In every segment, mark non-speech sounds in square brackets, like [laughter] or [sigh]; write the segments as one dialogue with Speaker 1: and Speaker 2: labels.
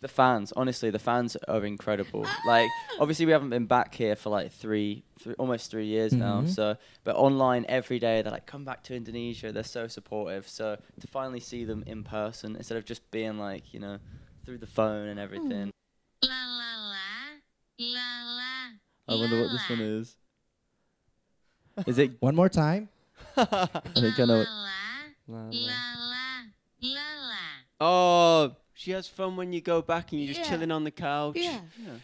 Speaker 1: the fans, honestly, the fans are incredible.
Speaker 2: [laughs]
Speaker 1: like, obviously, we haven't been back here for like three, three almost three years now.
Speaker 3: Mhm.
Speaker 1: So, but online every day, they're like, "Come back to Indonesia." They're so supportive. So to finally see them in person instead of just being like, you know, through the phone and
Speaker 2: Mm.
Speaker 1: everything.
Speaker 2: La la la, la la.
Speaker 1: I wonder what this one is. Is it?
Speaker 3: One more time.
Speaker 1: I think I know it.
Speaker 2: La la, la la.
Speaker 4: Oh, she has fun when you go back and you're just
Speaker 5: Yeah.
Speaker 4: chilling on the couch.
Speaker 5: Yeah.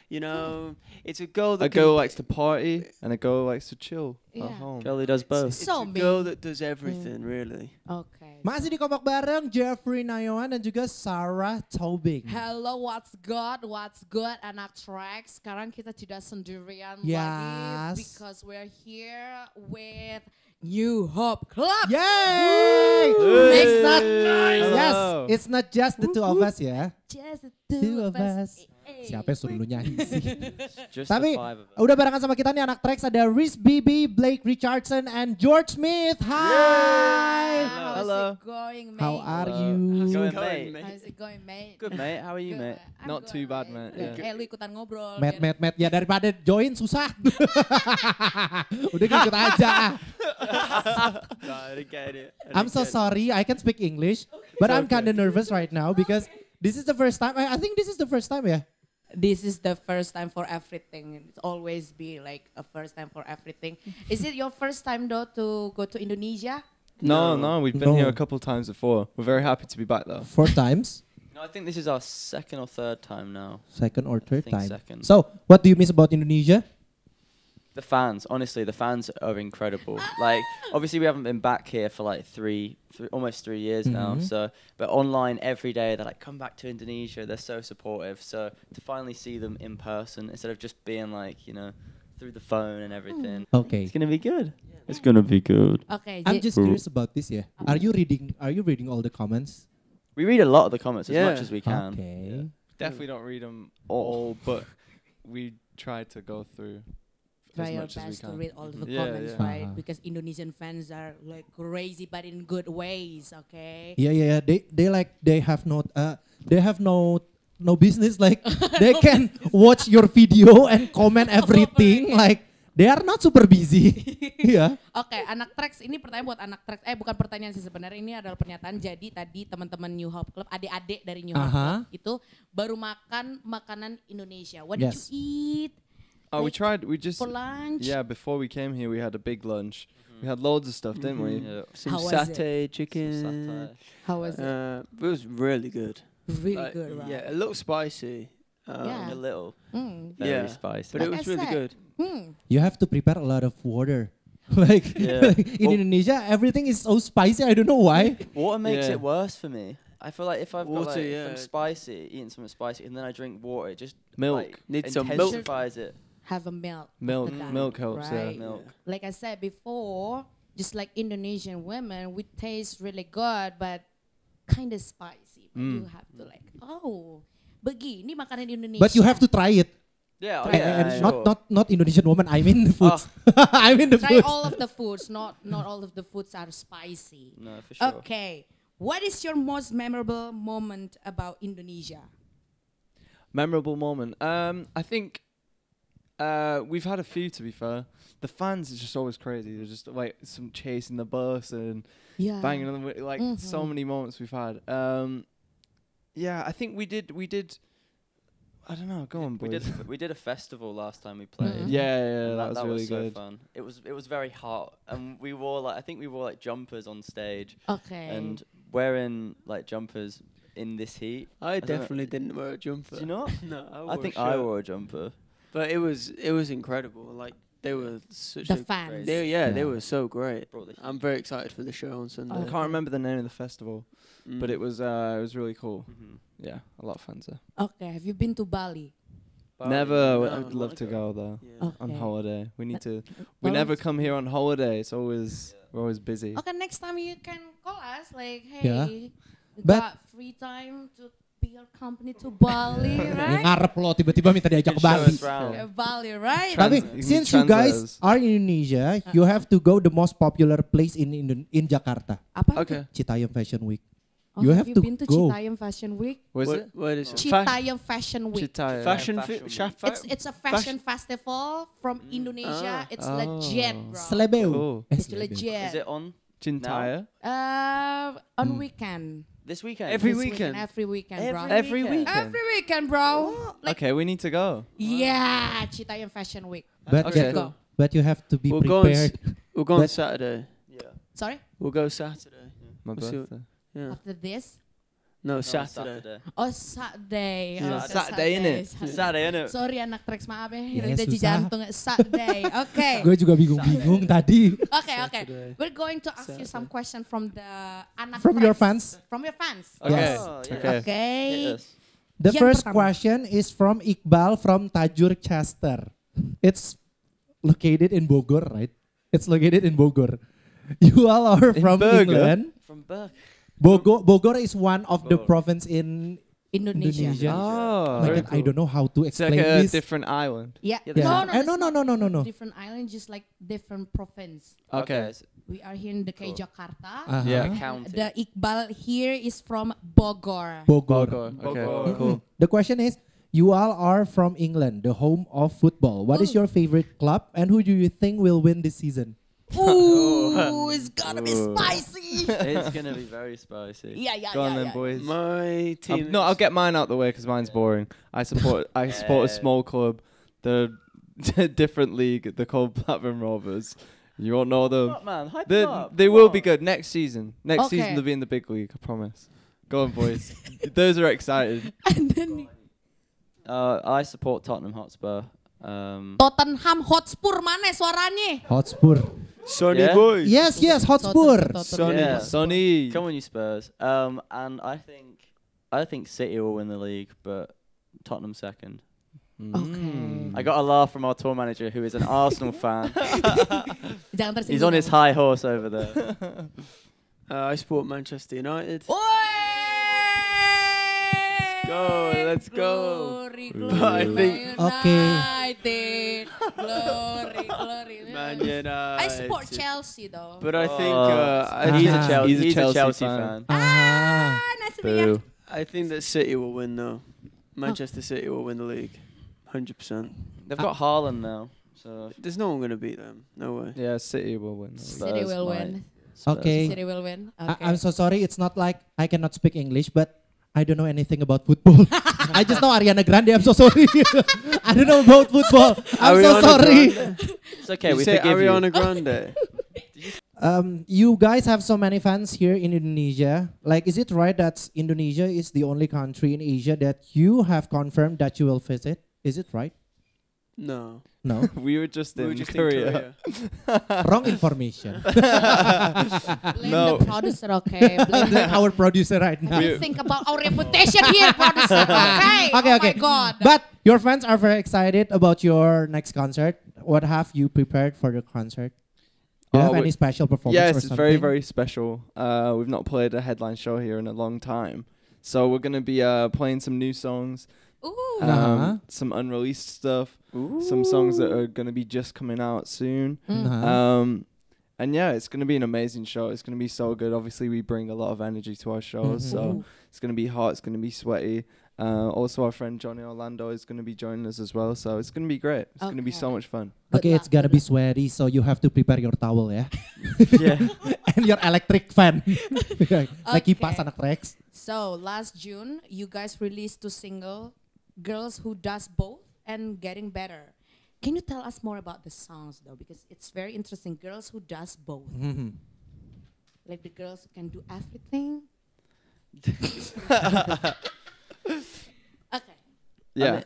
Speaker 4: You know, it's a girl that
Speaker 6: A
Speaker 4: can-
Speaker 6: girl likes to party and a girl likes to chill
Speaker 5: Yeah.
Speaker 6: at home.
Speaker 1: Girlie does both.
Speaker 4: It's
Speaker 5: So
Speaker 4: a
Speaker 5: mean.
Speaker 4: girl that does everything, really.
Speaker 5: Okay.
Speaker 3: Masih di kompak bareng Jeffrey Nayawan dan juga Sarah Tobing.
Speaker 5: Hello, what's good? What's good, anak track? Sekarang kita tidak sendirian
Speaker 3: Yes.
Speaker 5: lagi because we're here with New Hope Club.
Speaker 3: Yay!
Speaker 5: It's not
Speaker 3: Yes, it's not just the two of us ya.
Speaker 5: just the
Speaker 3: Two
Speaker 5: two
Speaker 3: of us.
Speaker 5: Eh.
Speaker 3: Siapa yang suruh lu nyanyi sih? [laughs]
Speaker 1: Just
Speaker 3: Tapi
Speaker 1: the five of us.
Speaker 2: Oh,
Speaker 3: udah barengan sama kita nih anak tracks ada Riz BB, Blake Richardson, and George Smith. Hi.
Speaker 5: How's
Speaker 1: Hello.
Speaker 5: it going, mate?
Speaker 3: How are
Speaker 1: Hello.
Speaker 3: you?
Speaker 1: How's it going,
Speaker 4: Going,
Speaker 1: mate?
Speaker 4: [laughs]
Speaker 5: How's it going, mate?
Speaker 1: Good, mate. How are you,
Speaker 5: Good,
Speaker 1: mate?
Speaker 5: I'm
Speaker 6: Not
Speaker 5: good,
Speaker 6: too bad, mate.
Speaker 5: Eh, lu ikutan ngobrol.
Speaker 3: Met,
Speaker 5: biar-
Speaker 3: met, met. Ya daripada join susah. [laughs] udah ikut aja. ah.
Speaker 4: No, I don't get
Speaker 5: [laughs]
Speaker 4: it. I
Speaker 3: I'm
Speaker 4: don't
Speaker 3: so
Speaker 4: get it.
Speaker 3: sorry. I can speak English, but I'm kind of nervous right now because this is the first time. I, I think this is the first time, yeah.
Speaker 5: This is the first time for everything. It's always be like a first time for [laughs] everything. Is it your first time though to go to Indonesia?
Speaker 6: No, no, we've been here
Speaker 3: No.
Speaker 6: a couple times before. We're very happy to be back though.
Speaker 3: Four times,
Speaker 1: No, I think this is our second or third time now.
Speaker 3: second or third
Speaker 1: think
Speaker 3: time.
Speaker 1: second.
Speaker 3: So, what do you miss about Indonesia?
Speaker 1: The fans, honestly, the fans are incredible. like, obviously, we haven't been back here for like three, three almost three years now.
Speaker 3: Mhm.
Speaker 1: So, but online every day, they're like, "Come back to Indonesia." They're so supportive. So to finally see them in person instead of just being like, you know, through the phone and everything,
Speaker 3: Okay.
Speaker 1: it's gonna be good.
Speaker 4: It's gonna be good.
Speaker 5: Okay.
Speaker 3: I'm
Speaker 5: Ji-
Speaker 3: just curious about this, yeah. Are you reading? Are you reading all the comments?
Speaker 1: We read a lot of the comments as
Speaker 4: Yeah.
Speaker 1: much as we can.
Speaker 3: Okay.
Speaker 6: Definitely don't read them all, but we try to go through
Speaker 5: try
Speaker 6: as
Speaker 5: your
Speaker 6: much as we
Speaker 5: best to
Speaker 6: can.
Speaker 5: read all the
Speaker 6: Yeah,
Speaker 5: comments,
Speaker 6: yeah.
Speaker 5: right?
Speaker 3: Uh-huh.
Speaker 5: Because Indonesian fans are like crazy, but in good ways. Okay.
Speaker 3: Yeah, yeah, yeah. They they like they have no uh they have no no business
Speaker 1: [laughs]
Speaker 3: like they can watch your video and comment everything like they are not super
Speaker 1: [laughs]
Speaker 3: busy. [laughs] yeah.
Speaker 5: Oke, anak tracks ini pertanyaan buat anak tracks. Eh, bukan pertanyaan sih sebenarnya ini adalah pernyataan. Jadi tadi teman-teman New Hope Club, adik-adik dari New Hope
Speaker 3: Aha.
Speaker 5: Club itu baru makan makanan Indonesia. What
Speaker 3: Yes.
Speaker 5: did you eat
Speaker 6: Oh, we
Speaker 5: Like,
Speaker 6: tried. We just
Speaker 5: for lunch?
Speaker 6: yeah. Before we came here, we had a big lunch. We
Speaker 5: Mm-hmm.
Speaker 6: had loads of stuff, didn't we?
Speaker 1: Yeah.
Speaker 4: Some
Speaker 5: How was it?
Speaker 4: satay, chicken.
Speaker 1: Satire.
Speaker 5: How was it?
Speaker 4: Uh, it was really good.
Speaker 5: Really
Speaker 4: Like,
Speaker 5: good, right?
Speaker 4: Yeah, a little spicy. Um,
Speaker 5: Yeah.
Speaker 1: A little,
Speaker 5: Hmm.
Speaker 1: very
Speaker 4: Yeah.
Speaker 1: spicy.
Speaker 4: But it
Speaker 5: Like I
Speaker 4: was really
Speaker 5: said.
Speaker 4: good.
Speaker 5: Hmm.
Speaker 3: You have to prepare a lot of water. [laughs] Like
Speaker 1: Yeah.
Speaker 3: in
Speaker 1: Well-
Speaker 3: Indonesia, everything is so spicy. I don't know why.
Speaker 1: Water makes
Speaker 6: Yeah.
Speaker 1: it worse for me. I feel like if I've
Speaker 4: Water,
Speaker 1: got like, if
Speaker 4: yeah.
Speaker 1: I'm spicy, eating something spicy, and then I drink water, it just
Speaker 6: Milk.
Speaker 1: like,
Speaker 4: Need some milk.
Speaker 1: intensifies it.
Speaker 5: Have a milk.
Speaker 6: Milk,
Speaker 5: Look at that,
Speaker 6: milk helps. yeah.
Speaker 5: right?
Speaker 1: Milk.
Speaker 5: Like I said before, just like Indonesian women, we taste really good, but kind of spicy. But
Speaker 3: Mm.
Speaker 5: You have to like, oh, begini makanan Indonesia.
Speaker 3: But you have to try it.
Speaker 1: Yeah, oh,
Speaker 3: And-
Speaker 1: yeah,
Speaker 3: and
Speaker 1: sure. Ah.
Speaker 3: not not not Indonesian woman. I mean the foods. [laughs] I mean the
Speaker 5: try
Speaker 3: foods.
Speaker 5: all of the foods. Not not all of the foods are spicy.
Speaker 1: no, for sure.
Speaker 5: Okay. What is your most memorable moment about Indonesia?
Speaker 6: Memorable moment. Um, I think uh, we've had a few to be fair. The fans is just always crazy. They're just like some chasing the bus and
Speaker 5: Yeah.
Speaker 6: banging on the wi- like
Speaker 5: mm-hmm.
Speaker 6: so many moments we've had. Um, yeah, I think we did. We did. I don't know. Go on,
Speaker 1: We
Speaker 6: boys.
Speaker 1: did we did a festival last time we played.
Speaker 5: Mm-hmm.
Speaker 6: yeah, yeah,
Speaker 1: and
Speaker 6: that, was really
Speaker 1: so
Speaker 6: good.
Speaker 1: fun. It was it was very hot, and we wore like I think we wore like jumpers on stage,
Speaker 5: Okay.
Speaker 1: and wearing like jumpers in this heat.
Speaker 4: I,
Speaker 1: don't know.
Speaker 4: definitely didn't wear a jumper.
Speaker 1: Do you not?
Speaker 4: [laughs] No, I, wore
Speaker 1: I
Speaker 4: a
Speaker 1: think I
Speaker 4: shirt.
Speaker 1: wore a jumper.
Speaker 4: But it was it was incredible. Like they were such.
Speaker 5: the
Speaker 4: a-
Speaker 5: fans.
Speaker 4: they, yeah,
Speaker 3: Yeah.
Speaker 4: they were so great.
Speaker 1: Brought the
Speaker 4: I'm very excited for the show on Sunday. Mm.
Speaker 6: I
Speaker 5: Oh.
Speaker 6: can't remember the name of the festival, but it was uh, it was really cool.
Speaker 1: Mhm.
Speaker 6: Yeah, a lot of fans there.
Speaker 5: Okay. Have you been to Bali?
Speaker 1: Bali,
Speaker 6: Never.
Speaker 4: yeah.
Speaker 6: I
Speaker 4: No,
Speaker 6: would love to go though.
Speaker 4: Yeah.
Speaker 5: Okay.
Speaker 6: on holiday. We need to. We
Speaker 5: Well,
Speaker 6: never
Speaker 5: it's-
Speaker 6: come here on holiday. It's always we're always busy.
Speaker 5: Okay, next time you can call us. Like, hey,
Speaker 3: Yeah.
Speaker 5: we
Speaker 3: But-
Speaker 5: got free time to be your company to
Speaker 3: [laughs]
Speaker 5: Bali,
Speaker 3: Ya,
Speaker 5: right?
Speaker 3: Ngarep lo tiba-tiba minta diajak ke
Speaker 1: Show
Speaker 3: Bali.
Speaker 1: us round.
Speaker 5: Uh, Bali, right?
Speaker 6: Trans-
Speaker 3: Tapi
Speaker 6: you need
Speaker 3: since you guys
Speaker 6: translators.
Speaker 3: are in Indonesia,
Speaker 5: Ah.
Speaker 3: you have to go the most popular place in Indon- in Jakarta,
Speaker 5: Apa?
Speaker 6: Okay.
Speaker 3: Citayam Fashion Week.
Speaker 5: Oh,
Speaker 3: You have
Speaker 5: you
Speaker 3: to
Speaker 5: been to
Speaker 3: go.
Speaker 5: Citayam Fashion Week?
Speaker 6: Was
Speaker 4: What-
Speaker 6: it?
Speaker 4: What is it? Fa-
Speaker 5: Citayam Fashion Week.
Speaker 4: Chitaya.
Speaker 6: Fashion
Speaker 1: Fashion
Speaker 6: fi-
Speaker 1: week.
Speaker 6: sha- fa-
Speaker 5: It's it's a fashion festival from Indonesia.
Speaker 4: Ah.
Speaker 5: it's
Speaker 6: Oh.
Speaker 5: legit, bro.
Speaker 3: Selebeu.
Speaker 1: Oh.
Speaker 6: Cool.
Speaker 3: Eh,
Speaker 5: it's
Speaker 3: selebeu.
Speaker 5: legit.
Speaker 1: Is it on
Speaker 6: Chintaya.
Speaker 5: Uh,
Speaker 3: Hmm.
Speaker 5: on weekend.
Speaker 1: this weekend?
Speaker 6: Every
Speaker 5: This
Speaker 6: weekend?
Speaker 5: Every weekend, bro.
Speaker 1: Every
Speaker 6: Every
Speaker 1: weekend.
Speaker 6: weekend.
Speaker 5: Every weekend, bro. Like,
Speaker 6: okay, we need to go.
Speaker 5: yeah, Citayam Fashion Week.
Speaker 3: But,
Speaker 6: Okay.
Speaker 3: but, but you have to be
Speaker 4: We'll go, on, s-
Speaker 3: prepared.
Speaker 4: we'll go on
Speaker 3: But-
Speaker 4: Saturday.
Speaker 1: Yeah.
Speaker 5: Sorry,
Speaker 4: We'll go Saturday.
Speaker 6: My
Speaker 4: Let's see what-
Speaker 6: birthday. Oh.
Speaker 4: Yeah.
Speaker 5: after this.
Speaker 1: No,
Speaker 4: No,
Speaker 1: on
Speaker 4: Saturday.
Speaker 5: Oh, Saturday.
Speaker 4: Yeah.
Speaker 5: Oh,
Speaker 6: Saturday, innit?
Speaker 5: Saturday.
Speaker 1: Saturday, [laughs] innit?
Speaker 5: Sorry anak tracks maaf ya,
Speaker 3: Ya,
Speaker 5: yeah,
Speaker 3: susah.
Speaker 5: jantung.
Speaker 3: [laughs]
Speaker 5: Saturday. Oke.
Speaker 3: Gue juga bingung-bingung tadi.
Speaker 5: Oke, oke.
Speaker 4: Saturday.
Speaker 5: We're going to ask you
Speaker 4: Saturday.
Speaker 5: some question from the anak
Speaker 3: From your
Speaker 5: tracks.
Speaker 3: fans.
Speaker 5: From your fans.
Speaker 6: Okay.
Speaker 3: Yes.
Speaker 1: Oh, yeah.
Speaker 6: Okay.
Speaker 5: Oke.
Speaker 1: Hit us.
Speaker 3: The
Speaker 5: Yang
Speaker 3: first
Speaker 5: pertama.
Speaker 3: question is from Iqbal from Tajur Chester. It's located in Bogor, right? It's located in Bogor. [laughs] You all are
Speaker 6: In
Speaker 3: from
Speaker 6: Bogor?
Speaker 3: England.
Speaker 1: From Burke.
Speaker 3: Bogor, Bogor is one of the
Speaker 1: Bogor.
Speaker 3: province in
Speaker 5: Indonesia.
Speaker 3: Indonesia.
Speaker 6: Oh,
Speaker 3: Oh my
Speaker 6: very
Speaker 3: God, I
Speaker 6: cool.
Speaker 3: don't know how to
Speaker 6: It's like
Speaker 3: explain
Speaker 6: a
Speaker 3: this.
Speaker 6: different island.
Speaker 5: Yeah.
Speaker 1: Yeah,
Speaker 3: Yeah.
Speaker 5: No, no,
Speaker 3: Eh,
Speaker 5: it's
Speaker 3: no, no,
Speaker 5: not
Speaker 3: no, no, no, no.
Speaker 5: Different island, just like different province.
Speaker 6: Oh, Okay.
Speaker 1: s-
Speaker 5: We are here in DKI Jakarta.
Speaker 3: Aha.
Speaker 6: Yeah.
Speaker 1: County.
Speaker 5: The Iqbal here is from Bogor.
Speaker 3: Bogor.
Speaker 6: Bogor. Okay.
Speaker 1: Bogor.
Speaker 6: Cool.
Speaker 3: [laughs] The question is, you all are from England, the home of football. What is
Speaker 5: Ooh.
Speaker 3: your favorite club, and who do you think will win this season?
Speaker 5: Ooh, it's gonna be
Speaker 6: Ooh.
Speaker 5: spicy.
Speaker 1: it's gonna be very spicy.
Speaker 6: [laughs]
Speaker 5: Yeah, yeah,
Speaker 6: Go
Speaker 5: yeah,
Speaker 6: on then,
Speaker 5: yeah.
Speaker 6: boys.
Speaker 4: My
Speaker 6: Um,
Speaker 4: team.
Speaker 6: no,
Speaker 4: is-
Speaker 6: I'll get mine out the way because mine's boring. I support. I support a
Speaker 1: Yeah.
Speaker 6: small club. They're a [laughs] different league. They're called Platinum Rovers. You won't know them.
Speaker 1: Up, man. Hype
Speaker 6: They
Speaker 1: them up.
Speaker 6: they
Speaker 1: Come
Speaker 6: will be
Speaker 1: on.
Speaker 6: good next season. Next
Speaker 5: Okay.
Speaker 6: season they'll be in the big league. I promise. Go on, boys. Those are excited.
Speaker 5: [laughs] And then
Speaker 1: Uh, I support Tottenham Hotspur. Um,
Speaker 5: Tottenham Hotspur mana suaranya?
Speaker 3: Hotspur.
Speaker 6: Sonny
Speaker 1: Yeah?
Speaker 6: boys.
Speaker 3: Yes, yes, Hotspur.
Speaker 6: Sonny.
Speaker 1: Yeah.
Speaker 6: Sonny.
Speaker 1: come on, you Spurs. Um, and I think I think City will win the league, but Tottenham second.
Speaker 3: Oh.
Speaker 6: Mm-hmm.
Speaker 5: Okay.
Speaker 6: Mm.
Speaker 1: I
Speaker 6: Hmm.
Speaker 1: got a laugh from our tour manager, who
Speaker 6: [laughs]
Speaker 1: is an Arsenal fan.
Speaker 5: Jangan tersinggung.
Speaker 1: He's on his high horse over
Speaker 6: [laughs]
Speaker 1: there.
Speaker 4: Uh, I support Manchester United.
Speaker 5: Let's
Speaker 4: go, let's go.
Speaker 5: Glory,
Speaker 4: But I
Speaker 5: glory,
Speaker 4: think-
Speaker 3: Okay.
Speaker 5: United. Glory, glory.
Speaker 4: Man United.
Speaker 5: Oh, I support Chelsea though.
Speaker 4: But I think
Speaker 1: Oh,
Speaker 4: uh, I,
Speaker 1: he's,
Speaker 4: think,
Speaker 1: a Chelsea,
Speaker 6: He's a
Speaker 1: he's
Speaker 6: Chelsea
Speaker 1: a Chelsea
Speaker 6: fan.
Speaker 1: fan.
Speaker 3: Ah.
Speaker 5: Ah, nice to meet you.
Speaker 6: Boo.
Speaker 4: I think that City will win though. Manchester City will win the league, hundred percent.
Speaker 1: They've got Haaland now, so
Speaker 4: There's no one gonna beat them. No way.
Speaker 6: Yeah, City will win.
Speaker 5: City
Speaker 1: Spurs
Speaker 5: will
Speaker 1: might.
Speaker 5: win.
Speaker 1: Spurs.
Speaker 3: Okay.
Speaker 5: City will win.
Speaker 3: I-
Speaker 5: Okay.
Speaker 3: I'm
Speaker 5: [laughs]
Speaker 3: so sorry. It's not like I cannot speak English, but I don't know anything about football. [laughs] I just know Ariana Grande. I'm so sorry. [laughs] I don't know about football. I'm so
Speaker 4: Ariana
Speaker 3: sorry.
Speaker 4: Grande.
Speaker 1: It's okay.
Speaker 4: you
Speaker 1: we
Speaker 4: say
Speaker 1: forgive
Speaker 4: Ariana
Speaker 1: you.
Speaker 4: Grande.
Speaker 3: Um, you guys have so many fans here in Indonesia. Like, is it right that Indonesia is the only country in Asia that you have confirmed that you will visit? Is it right?
Speaker 4: no.
Speaker 3: [laughs] No.
Speaker 6: We were just
Speaker 4: We were
Speaker 6: in
Speaker 4: just in
Speaker 6: [laughs] Korea.
Speaker 4: Korea.
Speaker 3: Wrong information. [laughs]
Speaker 5: blame
Speaker 6: No.
Speaker 5: the producer, okay? Blame
Speaker 3: Like our producer right now.
Speaker 5: Don't think about our reputation here,
Speaker 3: [laughs]
Speaker 5: producer. Okay.
Speaker 3: Okay,
Speaker 5: oh
Speaker 3: okay.
Speaker 5: my god.
Speaker 3: [laughs] But your fans are very excited about your next concert. What have you prepared for the concert? Do you
Speaker 6: Oh,
Speaker 3: have
Speaker 6: we-
Speaker 3: any special performance?
Speaker 6: Yes,
Speaker 3: or
Speaker 6: it's very,
Speaker 3: something?
Speaker 6: very special. Uh, we've not played a headline show here in a long time. So we're going to be uh, playing some new songs,
Speaker 5: Ooh.
Speaker 6: um,
Speaker 3: Uh-huh.
Speaker 6: some unreleased stuff, some songs that are going to be just coming out soon.
Speaker 5: Mm.
Speaker 3: Uh-huh.
Speaker 6: Um, and yeah, it's going to be an amazing show. It's going to be so good. Obviously, we bring a lot of energy to our shows. So it's going to be hot, it's going to be sweaty. Uh, also, our friend Johnny Orlando is going to be joining us as well. So it's going to be great. It's going to be
Speaker 5: Okay.
Speaker 6: so much fun.
Speaker 5: Good
Speaker 3: okay,
Speaker 5: luck,
Speaker 3: it's gonna
Speaker 5: good
Speaker 3: be sweaty, so you have to prepare your towel ya.
Speaker 1: [laughs]
Speaker 6: [laughs]
Speaker 1: yeah.
Speaker 3: [laughs] and your electric fan. [laughs] like kipas
Speaker 5: Okay.
Speaker 3: anak Rex.
Speaker 5: So last June, you guys released two single, "Girls Who Does Both" and "Getting Better." Can you tell us more about the songs though, because it's very interesting. "Girls Who Does Both,"
Speaker 3: Mm-hmm.
Speaker 5: like the girls who can do everything.
Speaker 1: [laughs]
Speaker 5: okay.
Speaker 6: Yeah.
Speaker 1: mean-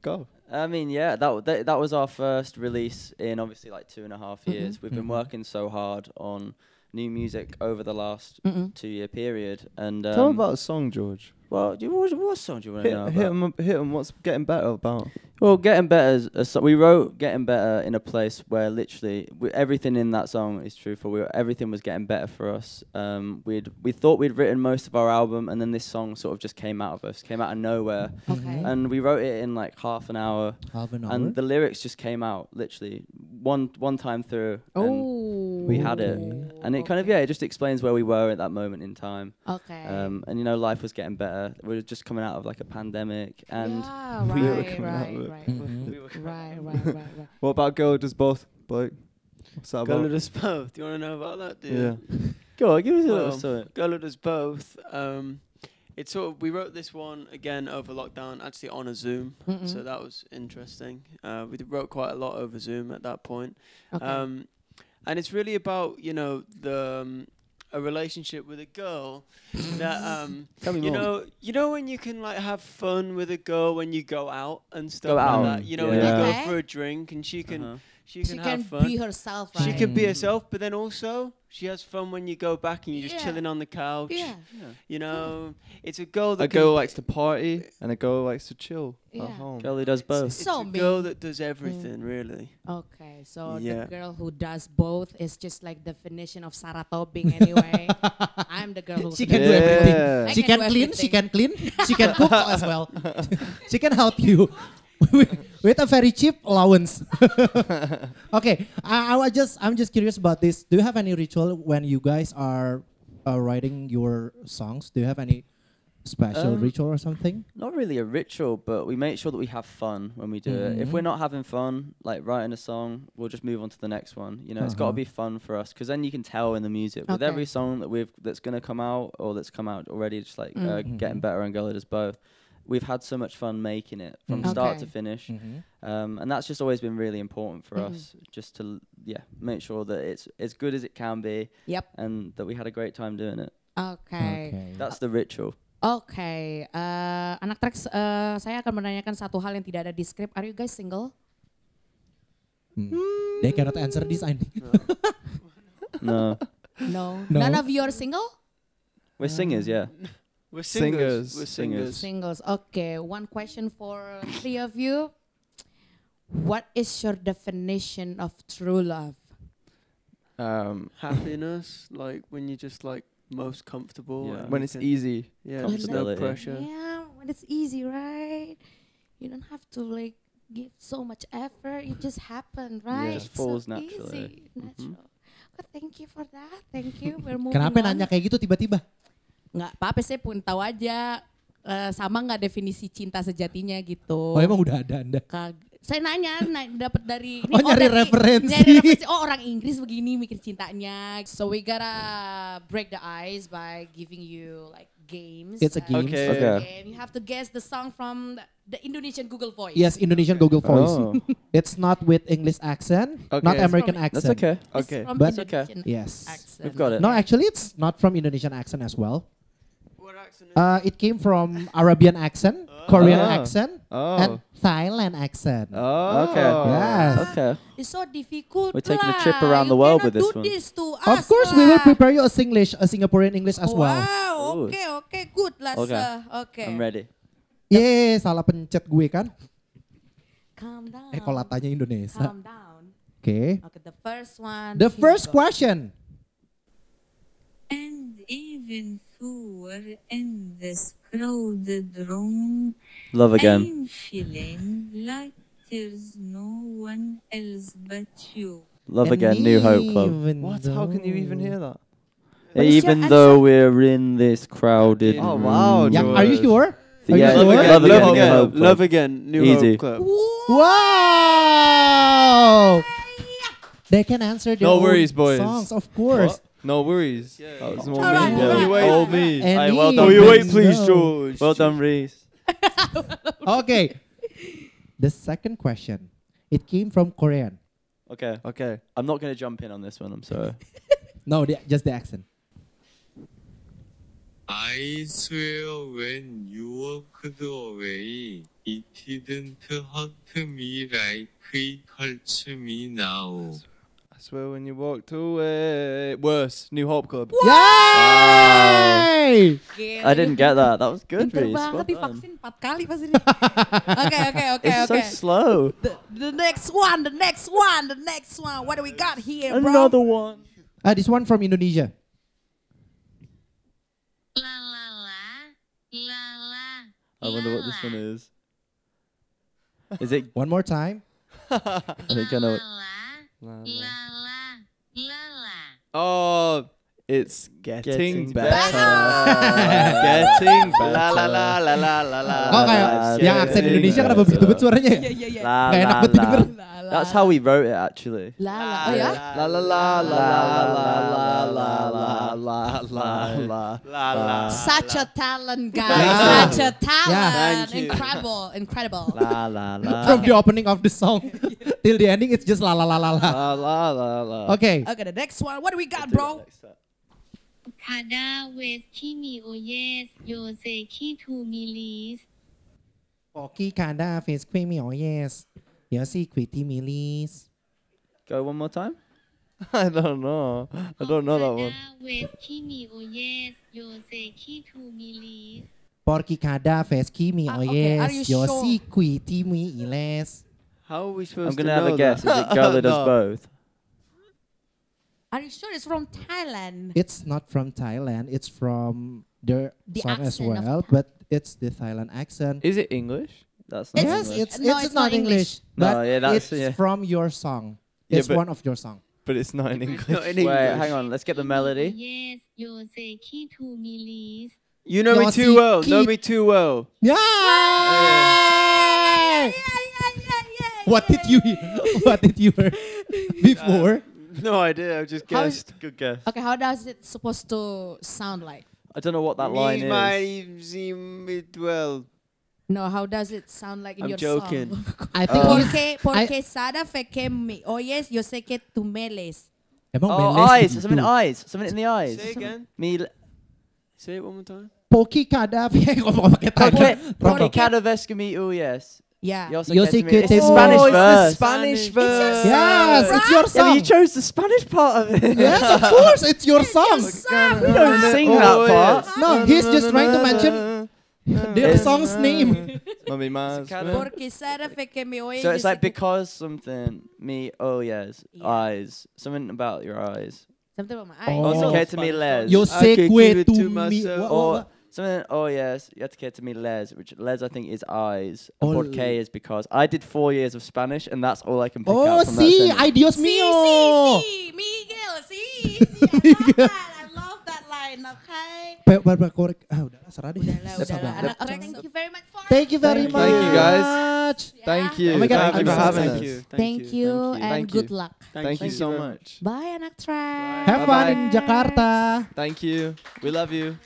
Speaker 6: Go.
Speaker 1: I mean, yeah, that, w- that that was our first release in obviously like two and a half
Speaker 6: Mm-hmm.
Speaker 1: years. We've been working so hard on new music over the last two-year period, and um,
Speaker 6: Tell him about a song, George.
Speaker 1: well, do you, what, what song do you want to
Speaker 6: Hit,
Speaker 1: know?
Speaker 6: hit
Speaker 1: about?
Speaker 6: 'em up- hit 'em, What's getting better about?
Speaker 1: Well, getting better. Is a so- we wrote "Getting Better" in a place where literally we, everything in that song is truthful. We, were- everything was getting better for us. Um, we'd we thought we'd written most of our album, and then this song sort of just came out of us, came out of nowhere,
Speaker 5: Okay.
Speaker 1: and we wrote it in like half an hour,
Speaker 3: Half an hour.
Speaker 1: and the lyrics just came out literally one one time through. and
Speaker 5: oh.
Speaker 1: we had it,
Speaker 3: Okay.
Speaker 1: and it kind of yeah, it just explains where we were at that moment in time.
Speaker 5: Okay.
Speaker 1: Um, and you know, life was getting better. We were just coming out of like a pandemic, and
Speaker 5: yeah,
Speaker 1: we were
Speaker 5: right,
Speaker 1: coming out
Speaker 5: right,
Speaker 1: with-
Speaker 5: right,
Speaker 3: Mhm.
Speaker 5: Mm-hmm. right, right, right, right.
Speaker 6: What about girl does both, Blake? What's that
Speaker 4: Go
Speaker 6: about?
Speaker 4: does both. Do you want to know about that, dude?
Speaker 6: yeah.
Speaker 1: go on, give us a
Speaker 4: Well,
Speaker 1: little something.
Speaker 4: Gullah does both. Um, it's sort of we wrote this one again over lockdown, actually on a Zoom,
Speaker 5: Mm-mm.
Speaker 4: so that was interesting. Uh, we d- wrote quite a lot over Zoom at that point,
Speaker 5: Okay.
Speaker 4: um, and it's really about you know the um, a relationship with a girl
Speaker 5: [laughs]
Speaker 4: that um,
Speaker 1: Tell me
Speaker 4: you
Speaker 1: more.
Speaker 4: know you know when you can like have fun with a girl when you go out and stuff
Speaker 1: Go
Speaker 4: like
Speaker 1: out.
Speaker 4: that. You know when
Speaker 1: Yeah.
Speaker 4: you
Speaker 5: Okay.
Speaker 4: go for a drink and she can
Speaker 1: Uh-huh.
Speaker 4: she
Speaker 5: she
Speaker 4: can have
Speaker 5: can
Speaker 4: fun.
Speaker 5: be herself, right?
Speaker 4: She can be
Speaker 3: Mm.
Speaker 4: herself, but then also she has fun when you go back and you're just
Speaker 5: Yeah.
Speaker 4: chilling on the couch.
Speaker 5: Yeah,
Speaker 4: You know, it's a girl that
Speaker 6: A
Speaker 4: can-
Speaker 6: girl likes to party and a girl likes to chill
Speaker 5: Yeah.
Speaker 6: at home.
Speaker 1: Girl who does both.
Speaker 4: It's
Speaker 5: So Mm.
Speaker 4: a
Speaker 5: me.
Speaker 4: girl that does everything,
Speaker 5: [laughs]
Speaker 4: really.
Speaker 5: Okay, so
Speaker 4: Yeah.
Speaker 5: the girl who does both is just like definition of Sarah Tobing
Speaker 3: [laughs]
Speaker 5: anyway. I'm the girl who
Speaker 3: She
Speaker 5: can
Speaker 3: can do everything.
Speaker 6: Yeah.
Speaker 5: [laughs] I
Speaker 3: She
Speaker 5: can
Speaker 3: can
Speaker 5: do
Speaker 3: clean, she
Speaker 5: everything.
Speaker 3: can clean, she can cook as well. she can help you [laughs] with- with a very cheap allowance. [laughs] okay, I, I was just I'm just curious about this. Do you have any ritual when you guys are uh, writing your songs? Do you have any special
Speaker 1: Um,
Speaker 3: ritual or something?
Speaker 1: Not really a ritual, but we make sure that we have fun when we do it. If
Speaker 3: Mhm.
Speaker 1: we're not having fun, like writing a song, we'll just move on to the next one. You know, it's got to be
Speaker 3: Uh-huh.
Speaker 1: fun for us because then you can tell in the music with
Speaker 5: Okay.
Speaker 1: every song that we've that's gonna come out or that's come out already. Just like uh,
Speaker 3: Mm.
Speaker 1: getting better and Gullah does both. We've had so much fun making it from
Speaker 3: Mm.
Speaker 1: start to
Speaker 5: Okay.
Speaker 1: finish,
Speaker 3: Mm-hmm.
Speaker 1: um, and that's just always been really important for
Speaker 5: Mhm.
Speaker 1: us. Just to l- yeah, make sure that it's as good as it can be,
Speaker 5: Yep.
Speaker 1: and that we had a great time doing it.
Speaker 5: Okay.
Speaker 1: That's the ritual.
Speaker 5: Oke, eh, anak tracks, eh, saya akan menanyakan satu hal yang tidak ada di script. Are you guys single?
Speaker 3: Hmm. They cannot answer this. I think.
Speaker 1: no,
Speaker 5: No.
Speaker 3: No.
Speaker 5: None of you are single?
Speaker 1: we're singers, yeah.
Speaker 4: We're
Speaker 6: Singers.
Speaker 4: We're
Speaker 1: Singers.
Speaker 4: singers.
Speaker 5: Singles. Okay, one question for three of you. What is your definition of true love?
Speaker 6: Um,
Speaker 4: Happiness, like when you're just like most comfortable.
Speaker 1: Yeah.
Speaker 4: and
Speaker 6: when
Speaker 4: you
Speaker 6: it's
Speaker 4: can-
Speaker 6: easy.
Speaker 4: Yeah, there's no
Speaker 1: Comfortability.
Speaker 4: pressure.
Speaker 5: Yeah, when it's easy, right? You don't have to like give so much effort. It just happened, right?
Speaker 1: just
Speaker 5: It's so
Speaker 1: falls naturally.
Speaker 5: Easy,
Speaker 3: eh?
Speaker 5: natural.
Speaker 3: Mm-hmm.
Speaker 5: Oh, thank you for that. Thank you. [laughs] We're moving
Speaker 3: Kenapa
Speaker 5: on.
Speaker 3: nanya kayak gitu tiba-tiba?
Speaker 5: Nggak apa-apa saya pun tahu aja eh, sama nggak definisi cinta sejatinya gitu.
Speaker 3: Oh, emang udah ada anda.
Speaker 5: Kag- saya nanya dapat dari
Speaker 3: [laughs] Oh, nyari
Speaker 5: dari-
Speaker 3: referensi.
Speaker 5: nyari referensi. Oh, orang Inggris begini mikir cintanya. So we gotta break the ice by giving you like games.
Speaker 3: It's a
Speaker 5: Uh,
Speaker 3: game.
Speaker 6: Okay.
Speaker 1: Okay.
Speaker 5: game. You have to guess the song from the, the Indonesian Google Voice.
Speaker 3: Yes, Indonesian Google Voice. [laughs]
Speaker 1: Oh.
Speaker 3: It's not with English accent,
Speaker 6: Okay.
Speaker 3: not
Speaker 6: It's
Speaker 3: American
Speaker 5: from-
Speaker 1: That's
Speaker 3: accent.
Speaker 1: okay.
Speaker 5: It's
Speaker 6: Okay.
Speaker 5: from
Speaker 3: But-
Speaker 5: Indonesian
Speaker 3: Yes.
Speaker 5: accent.
Speaker 1: We've got it.
Speaker 3: No, actually, it's not from Indonesian accent as well.
Speaker 4: What accent is
Speaker 3: Uh, it came from Arabian accent, Korean
Speaker 6: Ah.
Speaker 3: accent,
Speaker 6: Oh.
Speaker 3: and Thailand accent.
Speaker 6: oh.
Speaker 1: Okay.
Speaker 3: Yes.
Speaker 1: Okay.
Speaker 5: It's so difficult.
Speaker 1: We're taking a
Speaker 5: lah.
Speaker 1: trip around the
Speaker 5: You
Speaker 1: world with
Speaker 5: cannot
Speaker 1: this one.
Speaker 5: do this to
Speaker 3: Of
Speaker 5: us
Speaker 3: course, we will
Speaker 5: lah.
Speaker 3: prepare you a Singlish, a Singaporean English as well.
Speaker 1: Ooh.
Speaker 5: Wow, okay, okay, good lah.
Speaker 1: Okay.
Speaker 5: sir. Okay.
Speaker 1: I'm ready.
Speaker 3: Yeay, salah pencet gue kan?
Speaker 5: Calm down.
Speaker 3: Eh, kalau latanya Indonesia.
Speaker 5: Calm down.
Speaker 3: Oke.
Speaker 5: Okay, the first one.
Speaker 3: The
Speaker 5: here
Speaker 3: first
Speaker 5: we go.
Speaker 3: question.
Speaker 2: And even who were in this crowded room,
Speaker 1: Love again.
Speaker 2: I'm feeling like there's no one else but you.
Speaker 1: Love again. New Hope Club.
Speaker 3: Even
Speaker 6: What? How can you even
Speaker 3: though-
Speaker 6: hear that?
Speaker 5: What is your
Speaker 1: Even
Speaker 5: answer?
Speaker 1: though we're in this crowded
Speaker 6: Oh, wow,
Speaker 1: room.
Speaker 3: Yeah, are you sure?
Speaker 1: The- yeah,
Speaker 3: Love
Speaker 1: love
Speaker 3: again,
Speaker 1: again.
Speaker 4: Love,
Speaker 1: New
Speaker 4: again.
Speaker 1: Hope Club.
Speaker 4: Love again. New
Speaker 1: Easy.
Speaker 4: Hope Club.
Speaker 3: Wow! They can answer their
Speaker 6: No
Speaker 3: own
Speaker 6: worries, boys.
Speaker 3: songs, of course.
Speaker 6: No worries.
Speaker 4: Yeah,
Speaker 6: That
Speaker 4: yeah.
Speaker 6: was more
Speaker 5: All right,
Speaker 6: me.
Speaker 5: all right,
Speaker 6: All
Speaker 5: all right.
Speaker 6: me.
Speaker 3: And
Speaker 1: Aye, well
Speaker 3: he
Speaker 1: done.
Speaker 4: Oh, you wait,
Speaker 3: doesn't
Speaker 4: please,
Speaker 3: know.
Speaker 4: George.
Speaker 1: Well done, Reese.
Speaker 3: Okay. the second question. It came from Korean.
Speaker 1: Okay.
Speaker 6: Okay.
Speaker 1: I'm not gonna jump in on this one. I'm sorry.
Speaker 3: No, the, just the accent.
Speaker 7: I swear when you walked away, it didn't hurt me like it hurts me now.
Speaker 6: I swear when you walked away. Worse. New Hope Club.
Speaker 3: Yay!
Speaker 1: I didn't get that. That was good,
Speaker 5: Pinter
Speaker 1: Reese. Well
Speaker 5: banget
Speaker 1: done.
Speaker 5: divaksin 4 kali pasti
Speaker 1: [laughs]
Speaker 5: dia. Oke, oke, oke,
Speaker 1: It's so
Speaker 5: oke.
Speaker 1: slow.
Speaker 5: The- The next one, the next one, the next one. What do we got here, bro?
Speaker 1: Another one.
Speaker 3: Uh, this one from Indonesia.
Speaker 2: La la la, la la.
Speaker 1: I wonder what this one is. Is it?
Speaker 3: One more time.
Speaker 1: I think I know it.
Speaker 2: La la, la la, la la.
Speaker 6: Oh, it's getting,
Speaker 1: Getting [laughs]
Speaker 6: better.
Speaker 1: better.
Speaker 6: getting
Speaker 5: [laughs]
Speaker 6: better.
Speaker 4: La la la la la la la.
Speaker 6: Uh,
Speaker 3: Kok
Speaker 1: Ah,
Speaker 3: kayak yang
Speaker 1: iya,
Speaker 3: aksen
Speaker 1: iya,
Speaker 3: Indonesia
Speaker 1: iya,
Speaker 3: kenapa
Speaker 1: iya.
Speaker 3: begitu bet suaranya ya?
Speaker 5: Yeah, yeah, yeah.
Speaker 1: La,
Speaker 3: Kayak enak
Speaker 1: la, la.
Speaker 3: banget denger.
Speaker 5: La, la,
Speaker 1: That's how we wrote it actually.
Speaker 5: La, la. Oh ya?
Speaker 6: La la la la la la la la la la la.
Speaker 4: La la.
Speaker 5: Such a talent, guys.
Speaker 3: Yeah.
Speaker 5: Such a talent.
Speaker 4: Thank you.
Speaker 5: Incredible, incredible.
Speaker 1: La la
Speaker 6: Uh,
Speaker 1: la.
Speaker 3: From the opening of the
Speaker 6: [laughs]
Speaker 3: song till the ending it's just la la la la la.
Speaker 6: La la la la.
Speaker 3: Oke.
Speaker 5: Okay, the next one. What do we got, bro?
Speaker 8: คาดาเวสที่มีโอเยสโยเซคีทูมิลีส
Speaker 3: Poki kanda face creamy oh yes. Yosi quitty milis.
Speaker 1: Go one more time.
Speaker 6: [laughs] I don't know. I don't know that
Speaker 8: คา
Speaker 6: one.
Speaker 8: ดาเวสที่มีโอเยสโยเซคีทูมิลีส
Speaker 3: Porky kada face kimi
Speaker 5: Ah,
Speaker 3: oh
Speaker 5: okay, are you
Speaker 3: yes. Yosi quitty mi iles.
Speaker 4: How are we supposed
Speaker 1: I'm
Speaker 4: to
Speaker 1: gonna have
Speaker 4: know
Speaker 1: a guess. Is
Speaker 4: That?
Speaker 1: it girl that does
Speaker 6: No.
Speaker 1: both?
Speaker 5: Are you sure it's from Thailand?
Speaker 3: It's not from Thailand. It's from their
Speaker 5: The
Speaker 3: song as
Speaker 5: accent of
Speaker 3: well,
Speaker 5: Tha-
Speaker 3: but it's the Thailand accent.
Speaker 6: [laughs] Is it English?
Speaker 1: That's not
Speaker 3: Yes,
Speaker 1: English.
Speaker 3: it's
Speaker 5: No,
Speaker 3: it's not English,
Speaker 1: No,
Speaker 3: but
Speaker 1: yeah, that's-
Speaker 3: it's
Speaker 1: yeah.
Speaker 3: from your song.
Speaker 6: Yeah,
Speaker 3: It's
Speaker 6: but-
Speaker 3: one of your song.
Speaker 6: But [laughs] it's not in
Speaker 4: It's
Speaker 6: English.
Speaker 4: not in
Speaker 1: Wait,
Speaker 4: English.
Speaker 1: hang on. Let's get the melody.
Speaker 8: โอเยสโยเซคีทูมิลีส
Speaker 4: You know me
Speaker 3: Yossi
Speaker 4: too well. Know
Speaker 3: Keep.
Speaker 4: me too well.
Speaker 3: Yeah. What did you [laughs] What did you
Speaker 5: [laughs]
Speaker 3: hear before?
Speaker 4: No idea. I just
Speaker 5: How is-
Speaker 4: guessed. Good guess.
Speaker 5: Okay, how does it supposed to sound like?
Speaker 1: I don't know what that line
Speaker 4: Me,
Speaker 1: is.
Speaker 4: my, zim, it well.
Speaker 5: No, how does it sound like in
Speaker 4: I'm
Speaker 5: your
Speaker 4: joking.
Speaker 5: [laughs] song?
Speaker 1: Uh,
Speaker 3: I think he's-
Speaker 5: Porque, porque
Speaker 3: Um, I-
Speaker 5: Sara fue que me oyes, yo sé que tú me lees.
Speaker 3: Emang
Speaker 1: Oh,
Speaker 3: Meles
Speaker 1: eyes.
Speaker 3: begitu.
Speaker 1: Something eyes. Something in the eyes.
Speaker 4: Say again.
Speaker 1: Me. l-
Speaker 4: Say it one more time.
Speaker 3: Poki [laughs] Kadaf ngomong pakai tanda.
Speaker 1: Porque porque cada vez que me oh, uyes.
Speaker 5: Yeah.
Speaker 1: Yo sé
Speaker 3: Yo
Speaker 1: que
Speaker 3: sé
Speaker 1: te
Speaker 3: que
Speaker 1: me- It's the
Speaker 3: te
Speaker 1: Spanish
Speaker 3: Oh, it's
Speaker 4: the
Speaker 1: verse.
Speaker 4: Spanish verse.
Speaker 3: Yes, it's your
Speaker 1: Yeah, but you
Speaker 3: song.
Speaker 1: chose the Spanish part of it.
Speaker 3: Yes,
Speaker 1: [laughs]
Speaker 3: of course, it's your song.
Speaker 1: You don't sing
Speaker 4: Oh,
Speaker 1: that part.
Speaker 3: No, he's just trying to mention
Speaker 4: [laughs]
Speaker 3: their song's name.
Speaker 6: Mummy Mars.
Speaker 1: kind of-
Speaker 5: Porque Sara fue que me oyes.
Speaker 1: So
Speaker 5: yo
Speaker 1: it's
Speaker 5: sé
Speaker 1: like
Speaker 5: que-
Speaker 1: because something me oh yes
Speaker 5: Yeah.
Speaker 1: eyes something about your eyes.
Speaker 5: Something about my eyes.
Speaker 3: Oh.
Speaker 1: Oh, it's
Speaker 3: Oh.
Speaker 1: okay to me les.
Speaker 3: Yo
Speaker 4: I
Speaker 3: sé
Speaker 4: could give
Speaker 3: que
Speaker 4: it
Speaker 3: tu
Speaker 4: to
Speaker 3: mi.
Speaker 4: myself.
Speaker 3: Wha- wha-
Speaker 1: or
Speaker 3: wha-
Speaker 1: something oh yes you have to care to me les which les I think is eyes.
Speaker 3: Oh,
Speaker 1: and Por qué is because I did four years of Spanish and that's all I can pick
Speaker 3: Oh,
Speaker 1: out from that
Speaker 3: see,
Speaker 1: sentence.
Speaker 3: ay Dios
Speaker 5: See,
Speaker 3: mío.
Speaker 5: see, see, Miguel, see, see, I love that. I love that line. Okay.
Speaker 3: Pe- pe- pe- korek. Ah, udah serah deh.
Speaker 5: Udahlah,
Speaker 3: Susah
Speaker 5: udahlah.
Speaker 3: banget.
Speaker 5: Anak korek, thank you very much for
Speaker 3: Thank you very
Speaker 6: Thank
Speaker 3: much.
Speaker 6: you, guys. Thank
Speaker 5: Yeah.
Speaker 6: you.
Speaker 3: Oh my God,
Speaker 6: Thank
Speaker 3: I'm
Speaker 6: you for
Speaker 3: so
Speaker 6: having
Speaker 3: sorry.
Speaker 6: us.
Speaker 4: Thank you.
Speaker 5: Thank you
Speaker 4: Thank
Speaker 5: and
Speaker 6: Thank
Speaker 5: good
Speaker 6: you.
Speaker 5: luck.
Speaker 6: Thank you so much.
Speaker 5: Bye, anak track.
Speaker 3: Have fun
Speaker 6: Bye-bye.
Speaker 3: in Jakarta.
Speaker 6: Thank you. We love you.